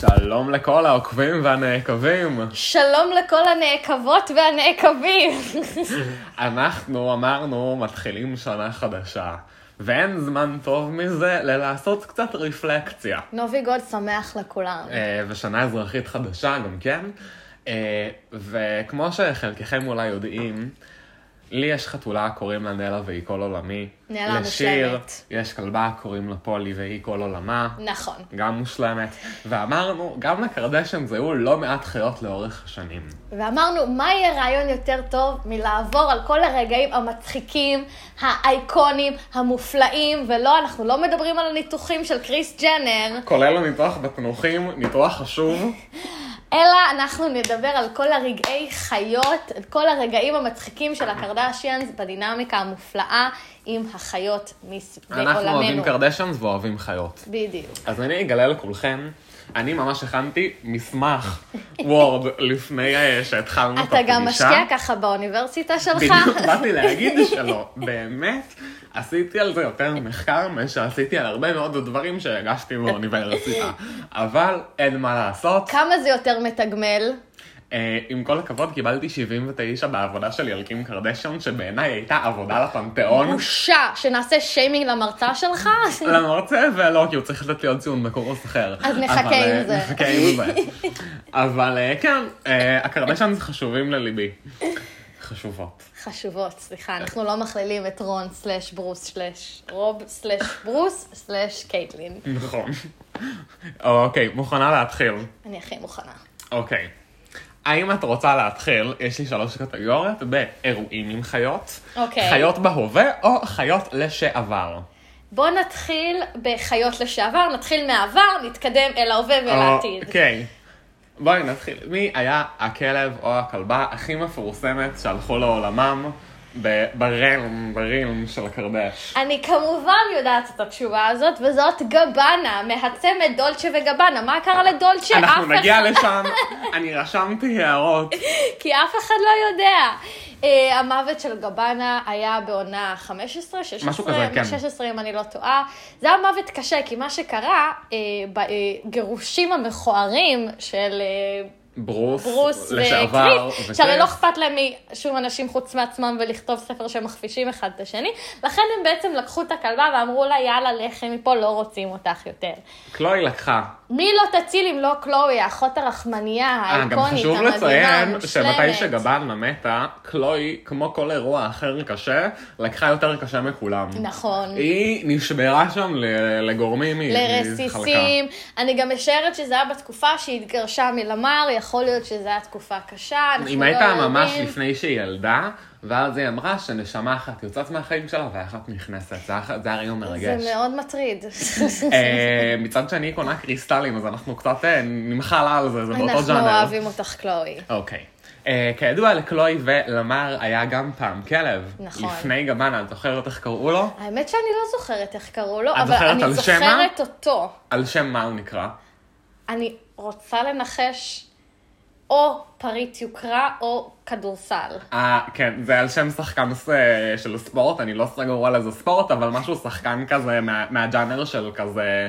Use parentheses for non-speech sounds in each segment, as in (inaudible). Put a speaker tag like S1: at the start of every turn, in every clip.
S1: שלום לכל העוקבים והנעקבים.
S2: שלום לכל הנעקבות והנעקבים.
S1: אנחנו אמרנו, מתחילים שנה חדשה, ואין זמן טוב מזה ללעשות קצת רפלקציה.
S2: (laughs) נובי גוד שמח לכולם.
S1: אה, ושנה אזרחית חדשה גם כן. אה, וכמו שחלקכם אולי יודעים, לי יש חתולה, קוראים לה נלה והיא כל עולמי.
S2: נלה
S1: לשיר,
S2: מושלמת.
S1: יש כלבה, קוראים לה פולי והיא כל עולמה.
S2: נכון.
S1: גם מושלמת. ואמרנו, גם לקרדשן זהו לא מעט חיות לאורך השנים.
S2: ואמרנו, מה יהיה רעיון יותר טוב מלעבור על כל הרגעים המצחיקים, האייקונים, המופלאים, ולא, אנחנו לא מדברים על הניתוחים של קריס ג'נר,
S1: כולל הניתוח בתנוחים, ניתוח חשוב.
S2: אלא אנחנו נדבר על כל הרגעי חיות, על כל הרגעים המצחיקים של הקרדשיאנס בדינמיקה המופלאה עם החיות מס...
S1: אנחנו אוהבים
S2: בעולמנו.
S1: קרדשנס ואוהבים חיות.
S2: בדיוק.
S1: אז אני אגלה לכולכם, אני ממש הכנתי מסמך
S2: (laughs)
S1: וורד לפני אה, שהתחלנו את
S2: אתה
S1: הפגישה.
S2: גם משקיע ככה באוניברסיטה שלך?
S1: בדיוק באתי להגיד שלא, באמת, עשיתי על זה יותר מחקר ממה שעשיתי על הרבה מאוד דברים שהגשתי באוניברסיטה. אבל אין מה לעשות,
S2: כמה זה יותר מתגמל?
S1: אה, עם כל הכבוד, קיבלתי 79 בעבודה של ילקים קרדשון, שבעיניי הייתה עבודה לפנתיאון.
S2: בושה שנעשה שיימינג למרצה שלך?
S1: למרצה, לא ולא, כי הוא צריך לתת לי עוד ציון בקורס אחר.
S2: אז נחכה
S1: אבל,
S2: עם
S1: אה,
S2: זה.
S1: נחכה עם זה. אבל אה, כן, אה, הקרדשן זה חשובים לליבי. חשובות.
S2: חשובות, סליחה, אנחנו לא מכלילים את רון סלאש ברוס סלאש רוב סלאש ברוס סלאש קייטלין.
S1: נכון. אוקיי, מוכנה להתחיל.
S2: אני הכי מוכנה.
S1: אוקיי. האם את רוצה להתחיל? יש לי שלוש קטגוריות באירועים עם חיות,
S2: אוקיי.
S1: חיות בהווה או חיות לשעבר.
S2: בואו נתחיל בחיות לשעבר, נתחיל מהעבר, נתקדם אל ההווה ואל העתיד.
S1: אוקיי. בואי נתחיל. מי היה הכלב או הכלבה הכי מפורסמת שהלכו לעולמם ב- ברילם, ברילם של הקרדש?
S2: אני כמובן יודעת את התשובה הזאת, וזאת גבנה, מהצמד דולצ'ה וגבנה. מה קרה לדולצ'ה?
S1: אנחנו
S2: כן, אף
S1: נגיע
S2: אחד-
S1: לשם, אני רשמתי הערות.
S2: כי אף אחד לא יודע. אה, המוות של גבנה היה בעונה 15, 16,
S1: משהו כזה, כן.
S2: 16 אם אני לא טועה. זה היה מוות קשה, כי מה שקרה אה, בגירושים המכוערים של אה,
S1: ברוס,
S2: ברוס
S1: (laughs) לשעבר,
S2: וקריס,
S1: וקריס.
S2: שהרי לא אכפת להם משום אנשים חוץ מעצמם ולכתוב ספר שמכפישים אחד את השני, לכן הם בעצם לקחו את הכלבה ואמרו לה, יאללה, לכי מפה, לא רוצים אותך יותר.
S1: קלוי לקחה.
S2: מי לא תציל אם לא קלואי, האחות הרחמנייה,
S1: אה,
S2: האיקונית,
S1: גם
S2: המדהימה,
S1: חשוב
S2: המושלמת.
S1: לציין שמתי שגבנה מתה, קלוי, כמו כל אירוע אחר קשה, לקחה יותר קשה מכולם.
S2: נכון.
S1: היא נשברה שם ל- לגורמים, היא כן, חלקה.
S2: לרסיסים. אני גם משערת שזה היה בתקופה שהיא התגרשה מלמר, יכול להיות שזו הייתה תקופה קשה, אנחנו
S1: אם
S2: לא
S1: הייתה
S2: יודעים.
S1: ממש לפני שהיא ילדה, ואז היא אמרה שנשמה אחת יוצאת מהחיים שלה ואחת נכנסת, זה היה- זה היה רגע
S2: זה
S1: מרגש.
S2: מאוד
S1: (laughs)
S2: מטריד.
S1: אה, מצד שני קונה קריסטלים, אז אנחנו קצת אה, נמחל על זה, זה באותו
S2: אנחנו לא
S1: ג'אנר.
S2: אוהבים אותך, קלואי.
S1: אוקיי. אה, כידוע לקלוי ולמר היה גם פעם כלב.
S2: נכון.
S1: לפני גבנה, את זוכרת איך קראו לו?
S2: האמת שאני לא זוכרת איך קראו לו,
S1: את
S2: אבל
S1: זוכרת
S2: אני
S1: על שמה?
S2: זוכרת אותו.
S1: על שם מה הוא נקרא?
S2: אני רוצה לנחש או פריט יוקרה או כדורסל.
S1: אה, כן, זה על שם שחקן אה, של ספורט, אני לא סגור על איזה ספורט, אבל משהו שחקן כזה מה- מהג'אנר של כזה,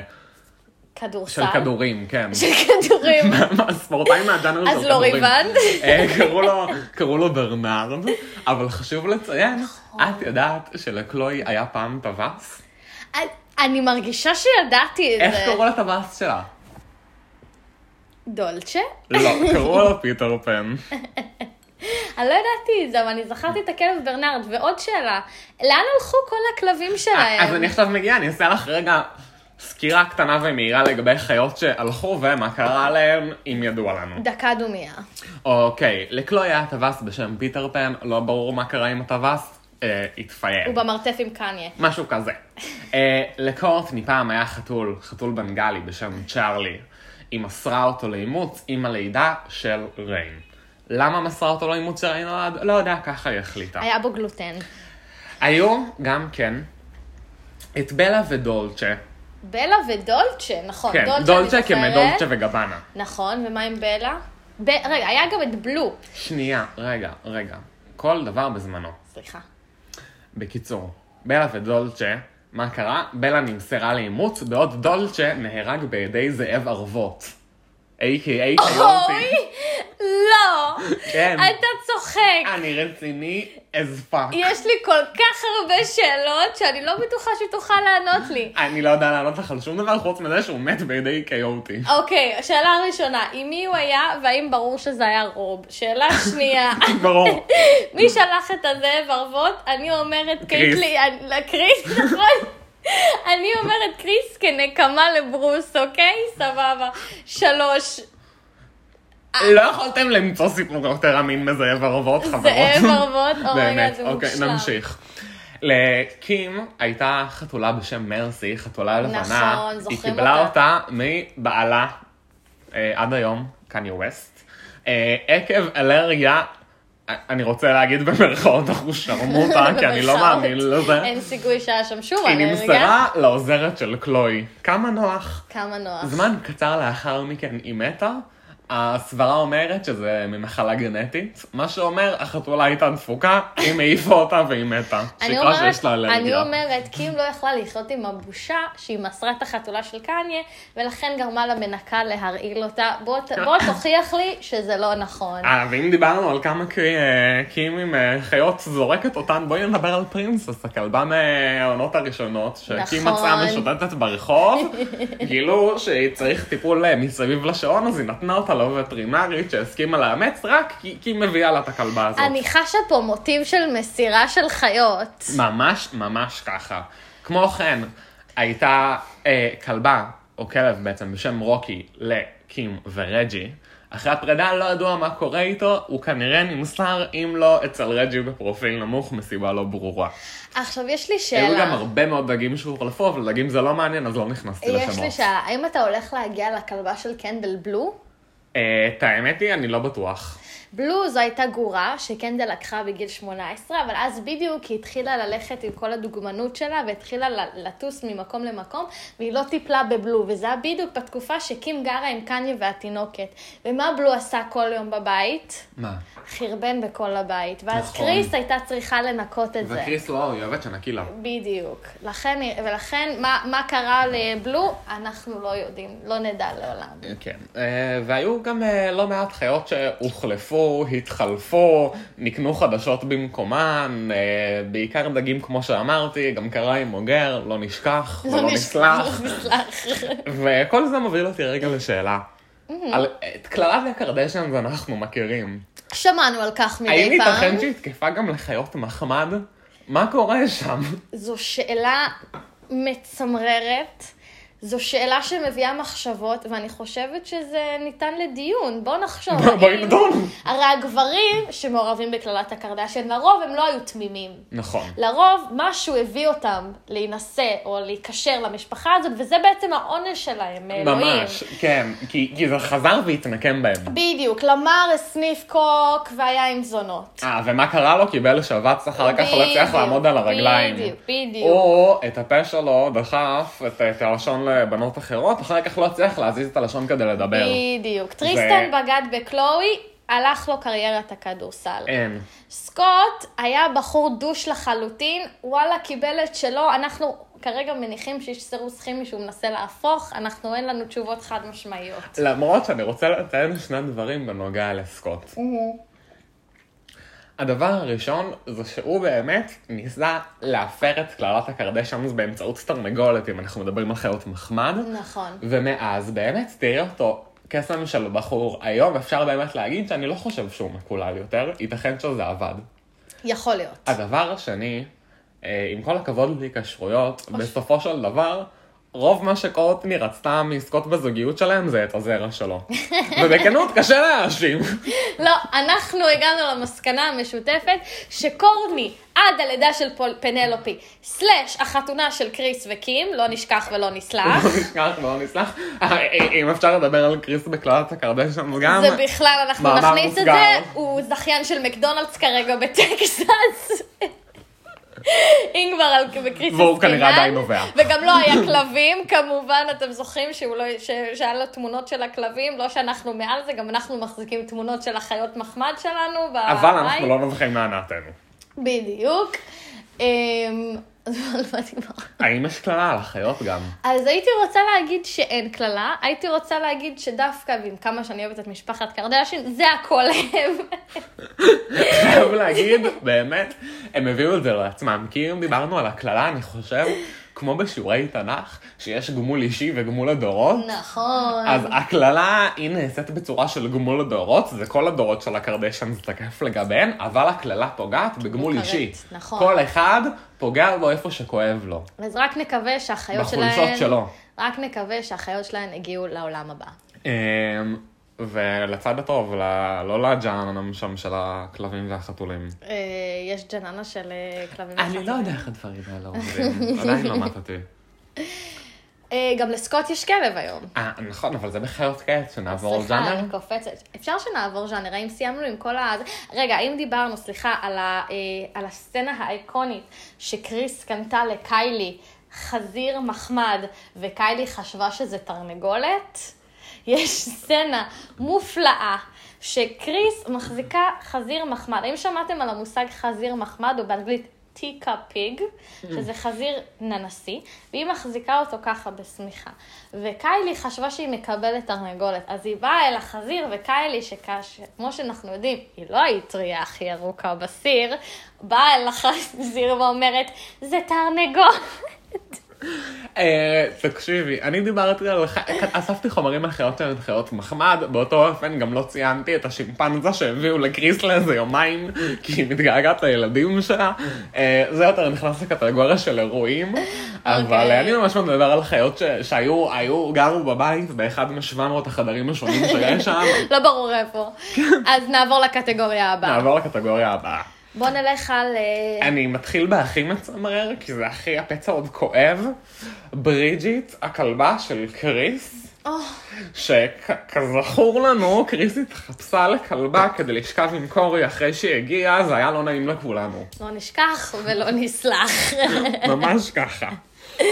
S2: כדורסל.
S1: של כדורים, כן.
S2: של כדורים. (laughs)
S1: הספורטאי מהג'אנר
S2: אז
S1: של
S2: לא
S1: כדורים.
S2: ריבן?
S1: אה, קראו לו- קראו לו ברנרד, אבל חשוב לציין,
S2: נכון.
S1: את יודעת שלקלוי היה פעם טווס?
S2: אני מרגישה שידעתי את זה.
S1: איך קראו לטווס שלה?
S2: דולצ'ה?
S1: לא, קראו לו פיטר
S2: (laughs)
S1: פן.
S2: אני לא ידעתי את זה, אבל אני זכרתי את הכלב ברנרד. ועוד שאלה, לאן הלכו כל הכלבים שלהם?
S1: אה, אז אני עכשיו מגיעה, אני אעשה לך רגע סקירה קטנה ומהירה לגבי חיות שהלכו ומה קרה להם, אם ידוע לנו.
S2: דקה דומייה.
S1: אוקיי, לקלוי היה טווס בשם פיטר פן, לא ברור מה קרה עם הטווס, אה, התפייל.
S2: הוא במרתף עם קניה.
S1: משהו כזה. אה, לקורט מפעם היה חתול, חתול בנגלי בשם צ'ארלי. היא מסרה אותו לאימוץ עם הלידה של ריין. למה מסרה אותו לאימוץ שריין נולד? לא יודע, ככה היא החליטה.
S2: היה בו גלוטן.
S1: היו גם כן את בלה ודולצ'ה.
S2: בלה ודולצ'ה, נכון.
S1: כן,
S2: אני
S1: דולצ'ה
S2: זוכרת.
S1: כמדולצ'ה וגבנה.
S2: נכון, ומה עם בלה? ב... רגע, היה גם את בלו.
S1: שנייה, רגע, רגע. כל דבר בזמנו.
S2: סליחה.
S1: אה, בקיצור, בלה ודולצ'ה, מה קרה? בלה נמסרה לאימוץ, בעוד דולצ'ה נהרג בידי זאב ערבות. A.K.A.
S2: אוי,
S1: קיוטי.
S2: לא.
S1: כן.
S2: אתה צוחק.
S1: אני רציני as fuck.
S2: יש לי כל כך הרבה שאלות שאני לא בטוחה שתוכל לענות לי.
S1: אני לא יודע לענות לך על שום דבר חוץ מזה שהוא מת בידי קיוטי.
S2: אוקיי, השאלה הראשונה, עם מי הוא היה והאם ברור שזה היה רוב? שאלה שנייה,
S1: (laughs) ברור.
S2: מי שלח את הזאב ערבות? אני אומרת
S1: קריס.
S2: קייטלי, אני- קריס, נכון? אני אומרת קריס כנקמה לברוס, אוקיי? סבבה. שלוש,
S1: לא יכולתם למצוא סיפור יותר אמין מזאב ערבות, חברות.
S2: זאב
S1: (laughs)
S2: ערבות, אוי,
S1: באמת,
S2: זה
S1: אוקיי,
S2: מושלם.
S1: נמשיך. לקים הייתה חתולה בשם מרסי, חתולה לבנה.
S2: נכון, זוכרים
S1: היא קיבלה
S2: אותה.
S1: אותה מבעלה אה, עד היום, קניה ווסט, אה, עקב אלרגיה, אה, אני רוצה להגיד במרכאות
S2: (laughs)
S1: אחושרמוטה, כי אני לא מאמין לזה.
S2: אין סיכוי שהיה שם שום
S1: היא
S2: אלרגיה.
S1: נמסרה לעוזרת של קלוי. כמה נוח.
S2: כמה נוח.
S1: זמן קצר לאחר מכן היא מתה. הסברה אומרת שזה ממחלה גנטית, מה שאומר, החתולה הייתה דפוקה, היא מעיפה אותה והיא מתה.
S2: אני
S1: שקרה
S2: אומרת,
S1: שיש לה
S2: אני
S1: אלרגיה.
S2: אומרת, קים לא יכלה לחיות עם הבושה שהיא מסרה את החתולה של קניה, ולכן גרמה למנקה להרעיל אותה. בוא, ת- בוא תוכיח לי שזה לא נכון.
S1: אה, ואם דיברנו על כמה קי- אה, קים עם אה, חיות זורקת אותן, בואי נדבר על פרינסס, הכלבה מהעונות הראשונות, שקים
S2: נכון.
S1: מצאה משוטטת
S2: (laughs)
S1: ברחוב, גילו שצריך טיפול אה, מסביב לשעון, אז היא נתנה אותה לווטרינרית שהסכימה לאמץ, רק כי כי היא מביאה לה את הכלבה הזאת.
S2: אני חשה פה מוטיב של מסירה של חיות.
S1: ממש ממש ככה. כמו כן, הייתה אה, כלבה, או כלב בעצם, בשם רוקי, לקים ורג'י. אחרי הפרידה לא ידוע מה קורה איתו, הוא כנראה נמסר, אם לא אצל רג'י בפרופיל נמוך, מסיבה לא ברורה.
S2: עכשיו, יש לי
S1: היו גם
S2: שאלה.
S1: הרבה מאוד דגים שהוחלפו, אבל דגים זה לא מעניין, אז לא נכנסתי
S2: יש לי
S1: לשמות.
S2: שאלה, האם אתה הולך להגיע לכלבה של קנדל בלו?
S1: אה, את האמת היא, אני לא בטוח.
S2: בלו זו הייתה גורה שקנדל לקחה בגיל 18, אבל אז בדיוק היא התחילה ללכת עם כל הדוגמנות שלה והתחילה ל- לטוס ממקום למקום, והיא לא טיפלה בבלו, וזה היה בדיוק בתקופה שקים גרה עם קניה והתינוקת. ומה בלו עשה כל יום בבית?
S1: מה?
S2: חרבן בכל הבית. ואז
S1: נכון.
S2: קריס הייתה צריכה לנקות את זה.
S1: וקריס לא, היא אוהבת שנקי לה.
S2: בדיוק. לכן, ולכן, מה, מה קרה לבלו, אנחנו לא יודעים, לא נדע לעולם.
S1: כן, אה, והיו גם אה, לא מעט חיות שהוחלפו, התחלפו, נקנו חדשות במקומן, אה, בעיקר דגים כמו שאמרתי, גם קרה עם אוגר, לא נשכח, ולא
S2: נש-
S1: נסלח,
S2: (laughs) לא נסלח.
S1: וכל זה מוביל אותי רגע לשאלה. על, אה, את קללה וקרדשן אנחנו מכירים.
S2: שמענו על כך מדי פעם.
S1: האם ייתכן שהיא תקפה גם לחיות מחמד? מה קורה שם?
S2: זו שאלה מצמררת, זו שאלה שמביאה מחשבות, ואני חושבת שזה ניתן לדיון. בואו נחשוב.
S1: בוא- בואי
S2: האם-
S1: נדון.
S2: הרי הגברים שמעורבים בקללת הקרדשן, לרוב הם לא היו תמימים.
S1: נכון.
S2: לרוב משהו הביא אותם להינשא או להיקשר למשפחה הזאת, וזה בעצם העונש שלהם, מאלוהים.
S1: ממש, כן, כי, כי זה חזר והתנקם בהם.
S2: בדיוק, למר הסניף קוק והיה עם זונות.
S1: אה, ומה קרה לו? קיבל שבץ אחר כך, לא הצליח
S2: בדיוק,
S1: לעמוד על הרגליים.
S2: בדיוק, בדיוק.
S1: או את הפה שלו דחף את, את הלשון לבנות אחרות, אחר כך לא הצליח להזיז את הלשון כדי לדבר.
S2: בדיוק. טריסטן בגד בקלואי, הלך לו קריירת הכדורסל.
S1: אין.
S2: סקוט היה בחור דוש לחלוטין, וואלה, קיבל את שלו, אנחנו כרגע מניחים שיש סירוס כימי שהוא מנסה להפוך, אנחנו אין לנו תשובות חד משמעיות.
S1: למרות שאני רוצה לציין שני דברים בנוגע לסקוט. הדבר הראשון זה שהוא באמת ניסה להפר את קללת הקרדשנס באמצעות תרנגולת, אם אנחנו מדברים על חיות מחמד.
S2: נכון.
S1: ומאז באמת תראי אותו קסם של בחור. היום אפשר באמת להגיד שאני לא חושב שהוא מקולל יותר, ייתכן שזה עבד.
S2: יכול להיות.
S1: הדבר השני, אה, עם כל הכבוד להיקשרויות, בסופו של דבר, רוב מה שקורטני רצתה מלזכות בזוגיות שלהם זה את הזרע שלו. ובכנות קשה להאשים.
S2: לא, אנחנו הגענו למסקנה המשותפת שקורני עד הלידה של פול- פנלופי, סלאש החתונה של קריס וקים, לא נשכח ולא נסלח.
S1: לא נשכח ולא נסלח. אה, אם אפשר לדבר על קריס בקללת הקרדשן (laughs) גם.
S2: זה בכלל, אנחנו
S1: מאמר
S2: נכניס את
S1: מוסגר.
S2: זה, הוא זכיין של מקדונלדס כרגע בטקסס. אם כבר על בקריסס
S1: והוא כנראה עדיין נובע.
S2: וגם לא היה כלבים, כמובן, אתם זוכרים שהוא לא, ש, שהיה לו תמונות של הכלבים, לא שאנחנו מעל זה, גם אנחנו מחזיקים תמונות של החיות מחמד שלנו.
S1: אבל לא
S2: בבית.
S1: אנחנו לא נובחים מהנאתנו.
S2: בדיוק. אמ, אמ, (laughs) אז על מה דיברנו?
S1: האם יש קללה על החיות גם?
S2: אז הייתי רוצה להגיד שאין קללה, הייתי רוצה להגיד שדווקא, ועם כמה שאני אוהבת את משפחת קרדשין, זה הכל הם.
S1: חייב להגיד, באמת, הם הביאו את זה לעצמם. כי אם דיברנו על הקללה, אני חושב, כמו בשיעורי תנ"ך, שיש גמול אישי וגמול הדורות,
S2: נכון.
S1: אז הקללה היא נעשית בצורה של גמול הדורות, זה כל הדורות של הקרדשן זה תקף לגביהן, אבל הקללה פוגעת בגמול
S2: מוכרת,
S1: אישי.
S2: נכון.
S1: כל אחד פוגע בו איפה שכואב לו.
S2: אז רק נקווה שהחיות שלהן...
S1: בחולשות שלו.
S2: רק נקווה שהחיות שלהן הגיעו לעולם הבא.
S1: אמ, ולצד הטוב, ל- לא לג'אנם שם של הכלבים והחתולים.
S2: אה, יש ג'ננה של אה, כלבים.
S1: אני לא
S2: וחתולים.
S1: יודע איך הדברים האלה עובדים, עדיין לא מתתי.
S2: אה, גם לסקוט יש כלב היום.
S1: אה, נכון, אבל זה בחיות כעת, שנעבור
S2: סליחה,
S1: ז'אנר.
S2: אני קופצת. אפשר שנעבור ז'אנר, האם סיימנו עם כל ה... רגע, האם דיברנו, סליחה, על, ה... אה, על הסצנה האיקונית שקריס קנתה לקיילי חזיר מחמד, וקיילי חשבה שזה תרנגולת? יש סצנה מופלאה. שקריס מחזיקה חזיר מחמד. האם שמעתם על המושג חזיר מחמד, או באנגלית טיקה פיג, שזה חזיר ננסי, והיא מחזיקה אותו ככה בשמיכה. וקיילי חשבה שהיא מקבלת תרנגולת, אז היא באה אל החזיר, וקיילי, שכמו שאנחנו יודעים, היא לא האטריה הכי ירוקה בסיר, באה אל החזיר ואומרת, זה תרנגולת.
S1: אה, תקשיבי, אני דיברתי על... ח- אספתי חומרים על חיות שהן חיות מחמד, באותו אופן גם לא ציינתי את השימפנזה שהביאו לקריס לאיזה יומיים, כי היא מתגעגעת לילדים שלה. אה, זה יותר נכנס לקטגוריה של אירועים, אבל אה,
S2: אוקיי.
S1: אני ממש מדבר על חיות ש- שהיו, היו, גרו בבית באחד מ-700 החדרים השונים שיש שם.
S2: לא ברור איפה. אז נעבור לקטגוריה הבאה.
S1: נעבור לקטגוריה הבאה.
S2: בוא נלך על... אה,
S1: אני מתחיל בהכי מצמרר, כי זה הכי, הפצע עוד כואב. בריג'יט, הכלבה של קריס.
S2: אוח.
S1: שכזכור לנו, קריס התחפשה לכלבה כדי לשכב עם קורי אחרי שהיא הגיעה, זה היה לא נעים
S2: (laughs)
S1: לכולנו.
S2: לא נשכח ולא נסלח.
S1: ממש ככה. אמ,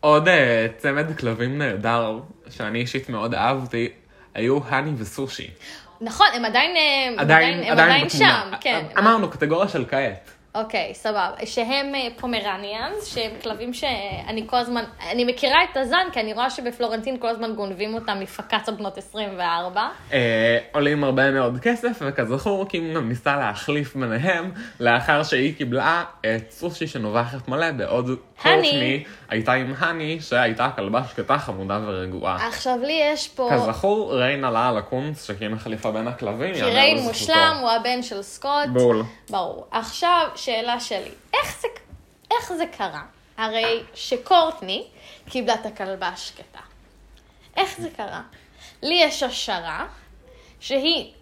S1: עוד אה, צמד כלבים נהדר, שאני אישית מאוד אהבתי, היו האני וסושי.
S2: נכון, הם עדיין, הם
S1: עדיין,
S2: הם עדיין
S1: בתמונה. אה,
S2: שם, כן. הם-
S1: אמרנו, קטגוריה של כעת.
S2: אוקיי, סבבה. שהם אה, פומרניאנס, שהם כלבים שאני כל הזמן, אני מכירה את הזן, כי אני רואה שבפלורנטין כל הזמן גונבים אותם מפקצות בנות 24.
S1: אה, עולים הרבה מאוד כסף, וכזכור, קים גם ניסה להחליף ביניהם, לאחר שהיא קיבלה את סושי שנובחת מלא, בעוד
S2: הני.
S1: קורטני הייתה עם האני, שהייתה כלבה שקטה, חמודה ורגועה.
S2: עכשיו לי יש פה...
S1: כזכור, ריין עלה על הקונץ, שקים החליפה בין הכלבים,
S2: כי
S1: יאמר
S2: ריין
S1: לזכותו.
S2: מושלם, הוא הבן של סקוט.
S1: בול.
S2: ברור. עכשיו, שאלה שלי. איך זה, איך זה קרה? הרי שקורטני קיבלה את הכלבה השקטה. איך זה קרה? לי יש השערה שהיא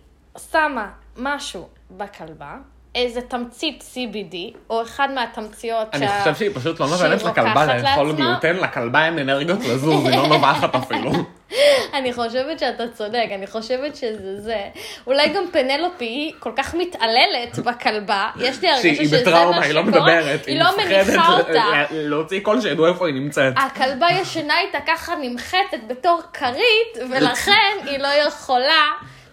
S2: שמה משהו בכלבה, איזה תמצית CBD, או אחד מהתמציות
S1: אני
S2: שה-
S1: חושב שהיא פשוט לא
S2: שהיא
S1: נותנת לכלבה
S2: לוקחת
S1: לאכול
S2: לעצמה.
S1: גלוטן, לכלבה אין אנרגיות לזוז, היא לא נובחת אפילו.
S2: אני חושבת שאתה צודק, אני חושבת שזה זה. אולי גם פנלופי היא כל כך מתעללת בכלבה, יש לי הרגשה שזה
S1: שהיא
S2: מה שקורה.
S1: בטראומה, היא לא מדברת,
S2: היא לא מניחה
S1: (laughs) מפחדת אה,
S2: אותה.
S1: לה- להוציא קול שידעו איפה היא נמצאת.
S2: הכלבה ישנה איתה ככה נמחצת בתור
S1: (laughs)
S2: כרית, ולכן היא לא יכולה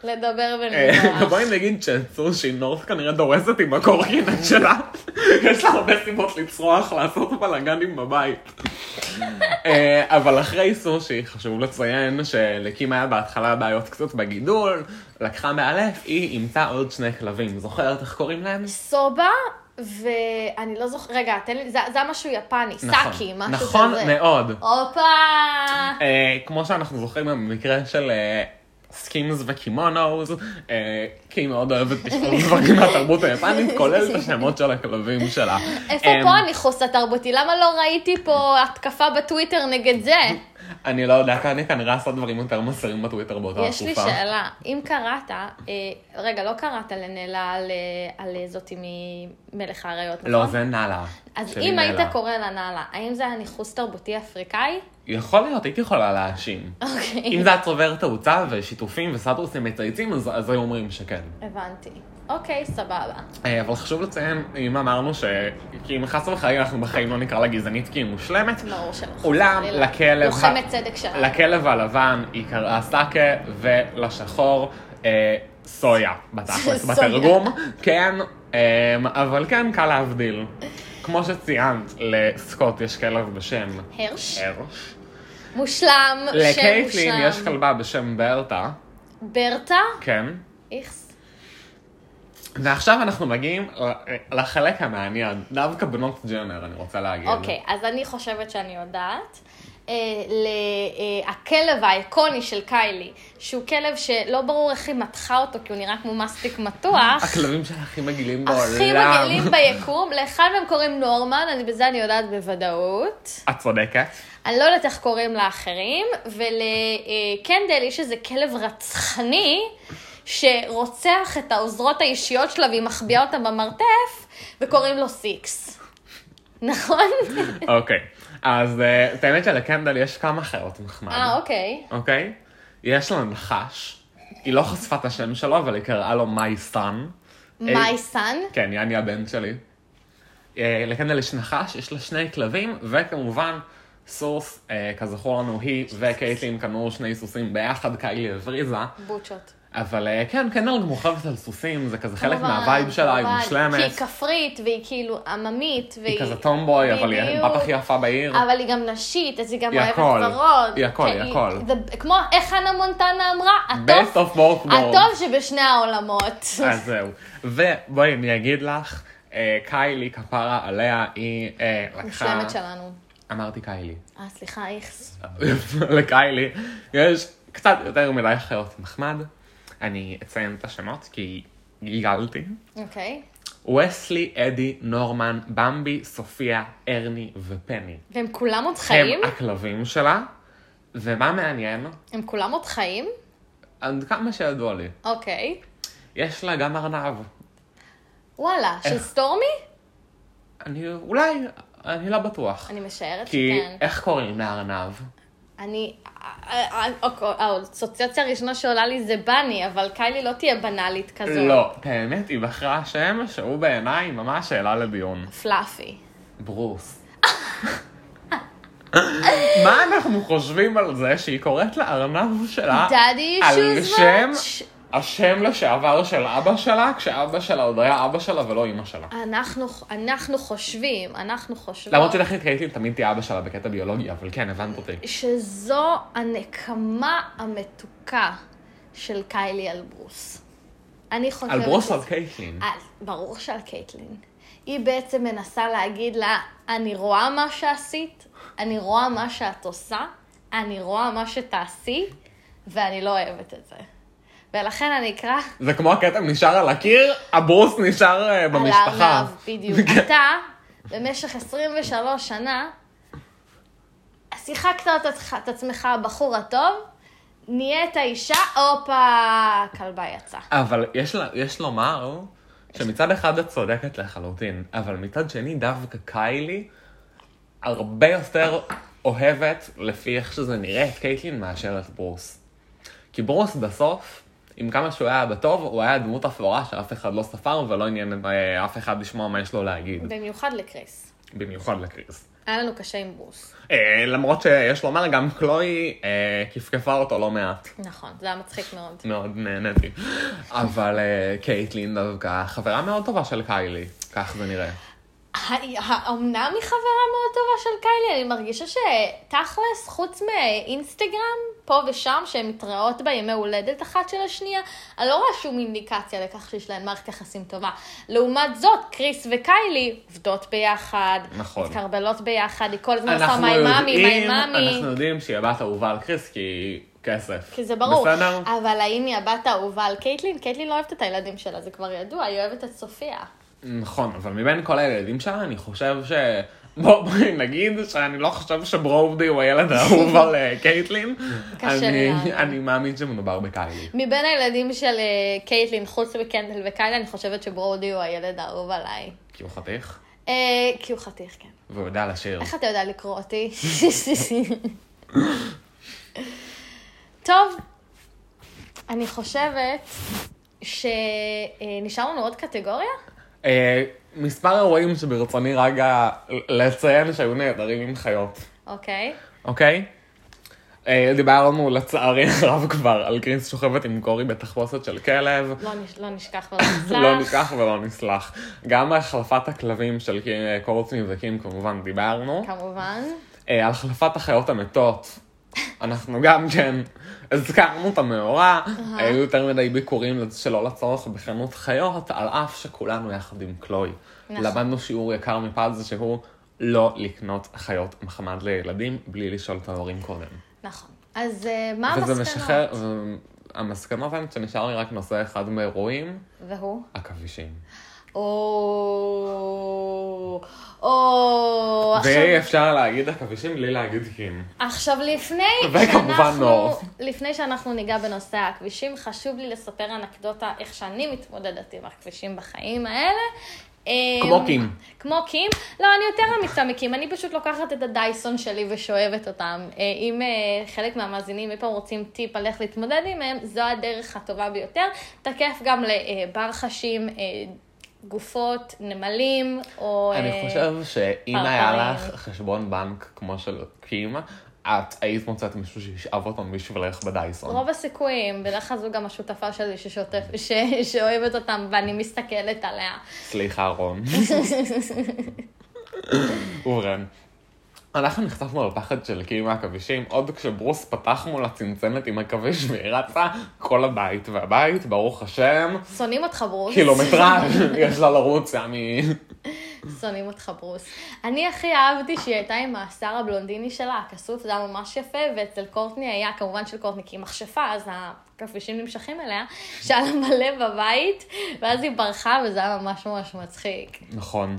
S2: לדבר
S1: אה,
S2: בנבואה.
S1: בואי נגיד שסושי נורס כנראה דורסת עם הקורקינט שלה. יש לה הרבה סיבות לצרוח, לעשות בלאגנים בבית. אה, אבל אחרי סושי, חשוב לציין שלקים היה בהתחלה בעיות קצת בגידול, לקחה מאלף, היא אימצה עוד שני כלבים. זוכרת איך קוראים להם?
S2: סובה, ואני לא זוכרת, רגע, תן לי, זה זה משהו יפני,
S1: נכון.
S2: סאקי, משהו כזה.
S1: נכון מאוד.
S2: הופה!
S1: אה, כמו שאנחנו זוכרים במקרה של אה, סקימס וקימונוז, אה, כי היא מאוד אוהבת לשמור
S2: (laughs)
S1: דברים מהתרבות היפנית, כולל את השמות של הכלבים שלה.
S2: איפה
S1: אה,
S2: פה הניחוס התרבותי? למה לא ראיתי פה התקפה בטוויטר נגד זה?
S1: אני לא יודע, אני כנראה עשה דברים יותר מסרים בטוויטר באותה
S2: יש לי
S1: תקופה.
S2: שאלה, אם קראת, אה, רגע, לא קראת לנלה על, אה, על אה, זאתי ממלך האריות, נכון?
S1: לא, זה נאללה.
S2: אז
S1: שלי
S2: אם היית
S1: נאללה.
S2: קורא לה נאללה, האם זה היה ניכוס תרבותי אפריקאי?
S1: יכול להיות, הייתי יכולה
S2: (laughs)
S1: להאשים.
S2: אוקיי.
S1: אם זה היה צובר תאוצה ושיתופים וסטטוסים מצייצים, אז אז היו אומרים שכן.
S2: הבנתי. אוקיי, סבבה.
S1: אה, אבל חשוב לציין, אם אמרנו ש... כי אם חס וחלילה אנחנו בחיים לא נקרא לה גזענית כי היא מושלמת,
S2: ברור שלא. חס
S1: אולם
S2: וחלילה.
S1: לכלב...
S2: לוחמת צדק שלנו.
S1: לכלב הלבן היא קראה סאקה ולשחור אה, סויה, בתכלס,
S2: (laughs) סויה.
S1: בתרגום. כן, אמ, אבל כן קל להבדיל. כמו שציינת, לסקוט יש כלב בשם
S2: הרש?
S1: הרש.
S2: מושלם, שם
S1: לקייטלין
S2: מושלם.
S1: יש כלבה בשם ברטה,
S2: ברטה?
S1: כן.
S2: איכס.
S1: ועכשיו אנחנו מגיעים ל- לחלק המעניין, דווקא בנות ג'נר, אני רוצה להגיד.
S2: אוקיי, אז אני חושבת שאני יודעת. אה, ל- אה, הכלב האיקוני של קיילי, שהוא כלב שלא ברור איך היא מתחה אותו, כי הוא נראה כמו
S1: (laughs)
S2: מסטיק מתוח.
S1: הכלבים שלה הכי מגעילים בעולם.
S2: הכי מגעילים ביקום, לאחד מהם קוראים נורמן, אני בזה אני יודעת בוודאות.
S1: את צודקת.
S2: אני לא יודעת איך קוראים לאחרים, ולקנדל יש איזה כלב רצחני שרוצח את העוזרות האישיות שלה והיא מחביאה אותה במרתף, וקוראים לו סיקס. נכון?
S1: אוקיי. אז אה, את האמת שלקנדל יש כמה חיות מחמד.
S2: אה, אוקיי.
S1: אוקיי? יש לה נחש, היא לא חשפה את השם שלו, אבל היא קראה לו מי סאן.
S2: מי סאן?
S1: כן, יאני הבן שלי. אה, לקנדל יש נחש, יש לה שני כלבים, וכמובן, סוס, אה, כזכור לנו, היא וקייטלין קנו שני סוסים ביחד, קיילי הבריזה.
S2: בוטשות.
S1: אבל אה, כן, קנדל גם רוכבת על סוסים, זה כזה חלק
S2: כמובן,
S1: מהווייב שלה, היא
S2: כמובן. כי
S1: מושלמת.
S2: היא כפרית, והיא כאילו עממית, והיא...
S1: היא כזה טומבוי, אבל היא
S2: בדיוק.
S1: הבת הכי יפה בעיר.
S2: אבל היא גם נשית, אז היא גם
S1: היא
S2: אוהבת
S1: הכל.
S2: ורוד.
S1: היא הכל,
S2: כן,
S1: היא הכל.
S2: זה כמו איך חנה מונטנה אמרה,
S1: best
S2: הטוב
S1: of both worlds.
S2: הטוב שבשני העולמות.
S1: אז זהו. ובואי, אני אגיד לך, אה, קיילי כפרה עליה, היא אה, לקחה...
S2: מושלמת שלנו.
S1: אמרתי קיילי. (laughs)
S2: אה, סליחה, איכס.
S1: לקיילי. יש קצת יותר מדי חיות מחמד. אני אציין את השמות כי גיגלתי.
S2: אוקיי.
S1: וסלי, אדי, נורמן, במבי, סופיה, ארני ופני.
S2: והם כולם עוד חיים?
S1: הם הכלבים שלה, ומה מעניין,
S2: הם כולם עוד חיים?
S1: עד כמה שידוע לי,
S2: אוקיי.
S1: יש לה גם ארנב.
S2: וואלה, של
S1: איך?
S2: סטורמי?
S1: אני, אולי, אני לא בטוח.
S2: אני משערת
S1: כי
S2: שכן.
S1: איך קוראים לארנב?
S2: אני... אה, האסוציאציה הראשונה שעולה לי זה בני, אבל קיילי לא תהיה בנאלית כזאת.
S1: לא, באמת, היא בחרה שם שהוא בעיניי ממש שאלה לדיון.
S2: פלאפי.
S1: ברוס. מה אנחנו חושבים על זה שהיא קוראת לארנב שלה
S2: Daddy
S1: אה, על
S2: issues
S1: שם
S2: much?
S1: השם לשעבר של אבא שלה, כשאבא שלה עוד היה אבא שלה ולא אימא שלה.
S2: אנחנו, אנחנו חושבים, אנחנו חושבים...
S1: למרות שטכנית קייטלין תמיד תהיה אבא שלה בקטע ביולוגי, אבל כן, הבנת אותי.
S2: שזו הנקמה המתוקה של קיילי על ברוס. אני חושבת...
S1: על ברוס
S2: שזה-
S1: על קייטלין.
S2: אז ברור שעל קייטלין. היא בעצם מנסה להגיד לה, אני רואה מה שעשית, אני רואה מה שאת עושה, אני רואה מה שתעשי, ואני לא אוהבת את זה. ולכן אני אקרא
S1: זה כמו הקטע נשאר על הקיר, הברוס נשאר אה,
S2: על
S1: במשפחה.
S2: הארנב, בדיוק.
S1: (laughs) כן.
S2: אתה, במשך 23 שנה, שיחקת את עצמך- את עצמך הבחור הטוב, נהיית אישה, הופה, כלבה יצאה.
S1: אבל יש, לה, יש לומר שמצד אחד את צודקת לחלוטין, אבל מצד שני דווקא קיילי הרבה יותר אוהבת, לפי איך שזה נראה, את קייטלין מאשר את ברוס. כי ברוס בסוף, עם כמה שהוא היה בטוב, הוא היה דמות אפורה שאף אחד לא ספר ולא עניין אה, אף אחד לשמוע מה יש לו להגיד,
S2: במיוחד לקריס.
S1: במיוחד לקריס.
S2: היה לנו קשה עם ברוס.
S1: אה, למרות שיש לומר, גם קלוי אה, כפכפה אותו לא מעט.
S2: נכון, זה היה מצחיק מאוד.
S1: מאוד נהניתי. אבל אה, קייטלין דווקא חברה מאוד טובה של קיילי, כך זה נראה.
S2: האומנם היא חברה מאוד טובה של קיילי? אני מרגישה שתכלס, חוץ מאינסטגרם, פה ושם, שהן מתראות בימי הולדת אחת של השנייה, אני לא רואה שום אינדיקציה לכך שיש להן מערכת יחסים טובה. לעומת זאת, קריס וקיילי עובדות ביחד,
S1: נכון.
S2: מתקרבלות ביחד, היא כל הזמן עושה
S1: אנחנו
S2: מיי מאמי, מיי
S1: יודעים,
S2: מאמי.
S1: אנחנו יודעים שהיא הבת אהובה על קריס כי כסף.
S2: כי זה ברור.
S1: בסדר?
S2: אבל האם היא הבת האהובה על קייטלין? קייטלין לא אוהבת את הילדים שלה, זה כבר ידוע, היא אוהבת את סופיה.
S1: נכון, אבל מבין כל הילדים שלה, אני חושב ש... בוא, בואי נגיד שאני לא חושב שברודי הוא הילד האהוב על אה, קייטלין.
S2: קשה
S1: אני-
S2: להאמין.
S1: אני מאמין שמדובר בקיילי.
S2: מבין הילדים של אה, קייטלין, חוץ מקנדל וקיילה, אני חושבת שברודי הוא הילד האהוב עליי.
S1: כי הוא חתיך,
S2: אה, כי הוא חתיך, כן.
S1: והוא יודע לשיר.
S2: איך אתה יודע לקרוא אותי? טוב, אני חושבת שנשאר לנו עוד קטגוריה?
S1: אה, מספר אירועים שברצוני רגע לציין שהיו נהדרים עם חיות.
S2: אוקיי.
S1: אוקיי? אה, דיברנו לצערי (laughs) הרב כבר על גרינס שוכבת עם גורי בתחפושת של כלב.
S2: לא נש- לא נשכח ולא נסלח.
S1: לא ניקח ולא נסלח. גם החלפת הכלבים של קי- קורצני וקים כמובן דיברנו.
S2: כן. כמובן.
S1: אה, על החלפת החיות המתות. אנחנו גם כן הזכרנו את המאורע, היו יותר מדי ביקורים שלא לצורך בחנות חיות, על אף שכולנו יחד עם קלוי.
S2: נכון.
S1: למדנו שיעור יקר מפז שהוא לא לקנות חיות מחמד לילדים בלי לשאול את ההורים קודם.
S2: נכון. אז אה, מה
S1: וזה משחרר, אמ,
S2: המסקנות?
S1: המסקנות הן שנשאר לי רק נושא אחד מאירועים,
S2: והוא?
S1: עכבישים.
S2: או... או...
S1: ואי
S2: עכשיו-
S1: אפשר להגיד עכבישים בלי להגיד קים.
S2: עכשיו לפני
S1: וכמובן
S2: שאנחנו,
S1: נור.
S2: לפני שאנחנו ניגע בנושא הכבישים, חשוב לי לספר אנקדוטה איך שאני מתמודדת עם הכבישים בחיים האלה.
S1: כמו
S2: אמ,
S1: קים.
S2: כמו קים. לא, אני יותר אמיצה מקים, אני פשוט לוקחת את הדייסון שלי ושואבת אותם. אה, אם אה, חלק מהמאזינים אי פעם רוצים טיפ על איך להתמודד עמהם, זו הדרך הטובה ביותר. תקף גם לבר חשים, אה, גופות, נמלים, או...
S1: אני
S2: אה,
S1: חושב שאם
S2: פרפרים.
S1: היה לך חשבון בנק כמו של קים, את היית מוצאת מישהו שישאב אותו בשבילך בדייסון.
S2: רוב הסיכויים, בדרך כלל זו גם השותפה שלי ששוטף, ש, שאוהבת אותם ואני מסתכלת עליה.
S1: סליחה,
S2: (laughs)
S1: רון. ובכן, אנחנו נחשפנו לפחד של קים מהעכבישים, עוד כשברוס פתח מול הצנצנת עם עכביש והיא רצה, כל הבית והבית, ברוך השם,
S2: שונאים אותך ברוס.
S1: לא קילומטראז'
S2: (laughs) אוקיי.
S1: יש לה לרוץ שם מ...
S2: שונאים אותך ברוס. אני הכי אהבתי שהיא הייתה עם השיער הבלונדיני שלה, הכסוף, זה היה ממש יפה, ואצל קורטני היה, כמובן של קורטני, כי היא מכשפה, אז הכפישים נמשכים אליה, שהיה לה מלא בבית, ואז היא ברחה, וזה היה ממש ממש מצחיק.
S1: נכון.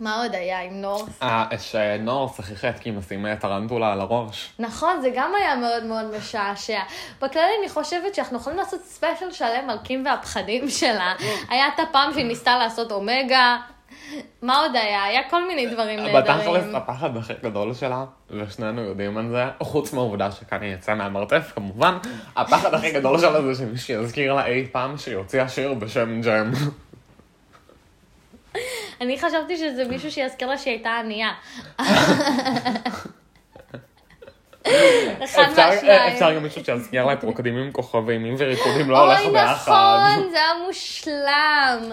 S2: מה עוד היה עם נורס?
S1: אה, שנור שכיחה את קים לשים טרנטולה על הראש.
S2: נכון, זה גם היה מאוד מאוד משעשע. בכללי, אני חושבת שאנחנו יכולים לעשות ספיישל שלם על קים והפחדים שלה. היה את הפעם שהיא ניסתה לעשות אומגה. מה עוד היה? היה כל מיני דברים
S1: בתכלס,
S2: נהדרים.
S1: הפחד הכי גדול שלה, ושנינו יודעים על זה, חוץ מהעובדה שכאן היא יצאה מהמרתף, כמובן, הפחד הכי גדול שלה זה שמישהו יזכיר לה אי פעם שהיא הוציאה שיר בשם ג'ם.
S2: אני חשבתי שזה מישהו שיזכיר לה שהיא הייתה
S1: (laughs)
S2: ענייה. אחד
S1: אפשר- אפשר
S2: מהשניים.
S1: גם מישהו שיזכיר לה את רוקדים עם כוכבים, אם וריקודים לא הולך
S2: אוי,
S1: ביחד.
S2: נכון, זה היה מושלם.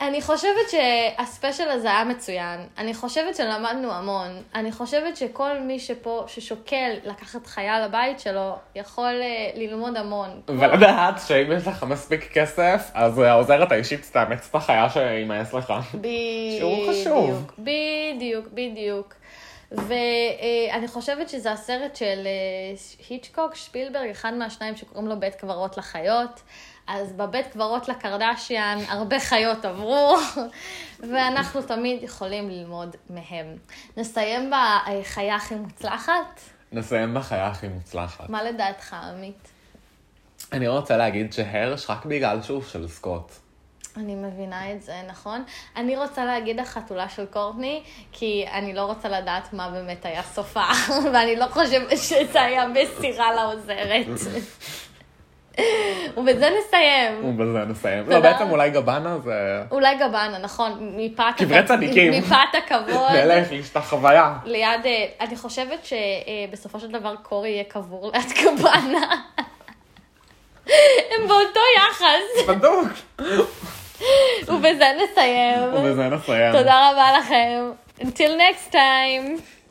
S2: אני חושבת שהספיישל הזה היה מצוין. אני חושבת שלמדנו המון. אני חושבת שכל מי שפה, ששוקל לקחת חיה לבית שלו, יכול אה, ללמוד המון.
S1: ולדעת שאם יש לך מספיק כסף, אז העוזרת האישית תאמץ את החיה שימאס לך. שהוא חשוב.
S2: בדיוק, בדיוק, בדיוק. ואני חושבת שזה הסרט של אה, היצ'קוק, שפילברג, אחד מהשניים שקוראים לו בית קברות לחיות. אז בבית קברות לקרדשיאן הרבה חיות עברו, (laughs) ואנחנו תמיד יכולים ללמוד מהם. נסיים בחיה הכי מוצלחת?
S1: נסיים בחיה הכי מוצלחת.
S2: מה לדעתך, עמית?
S1: אני רוצה להגיד שהרש רק בגלל שהוא של סקוט.
S2: אני מבינה את זה, נכון? אני רוצה להגיד החתולה של קורטני, כי אני לא רוצה לדעת מה באמת היה סופה, (laughs) ואני לא חושבת שזה היה מסירה לעוזרת. ובזה נסיים.
S1: ובזה נסיים.
S2: תודה.
S1: לא, בעצם אולי גבנה זה...
S2: אולי גבנה, נכון, מפאת...
S1: קברי
S2: הכ-
S1: צדיקים.
S2: מפאת
S1: (laughs)
S2: הכבוד.
S1: נלך, יש את החוויה.
S2: ליד, אה, אני חושבת שבסופו של דבר קורי יהיה קבור ליד (laughs) גבנה. הם באותו יחס,
S1: בדוק.
S2: ובזה נסיים.
S1: ובזה נסיים.
S2: תודה רבה לכם. until next time.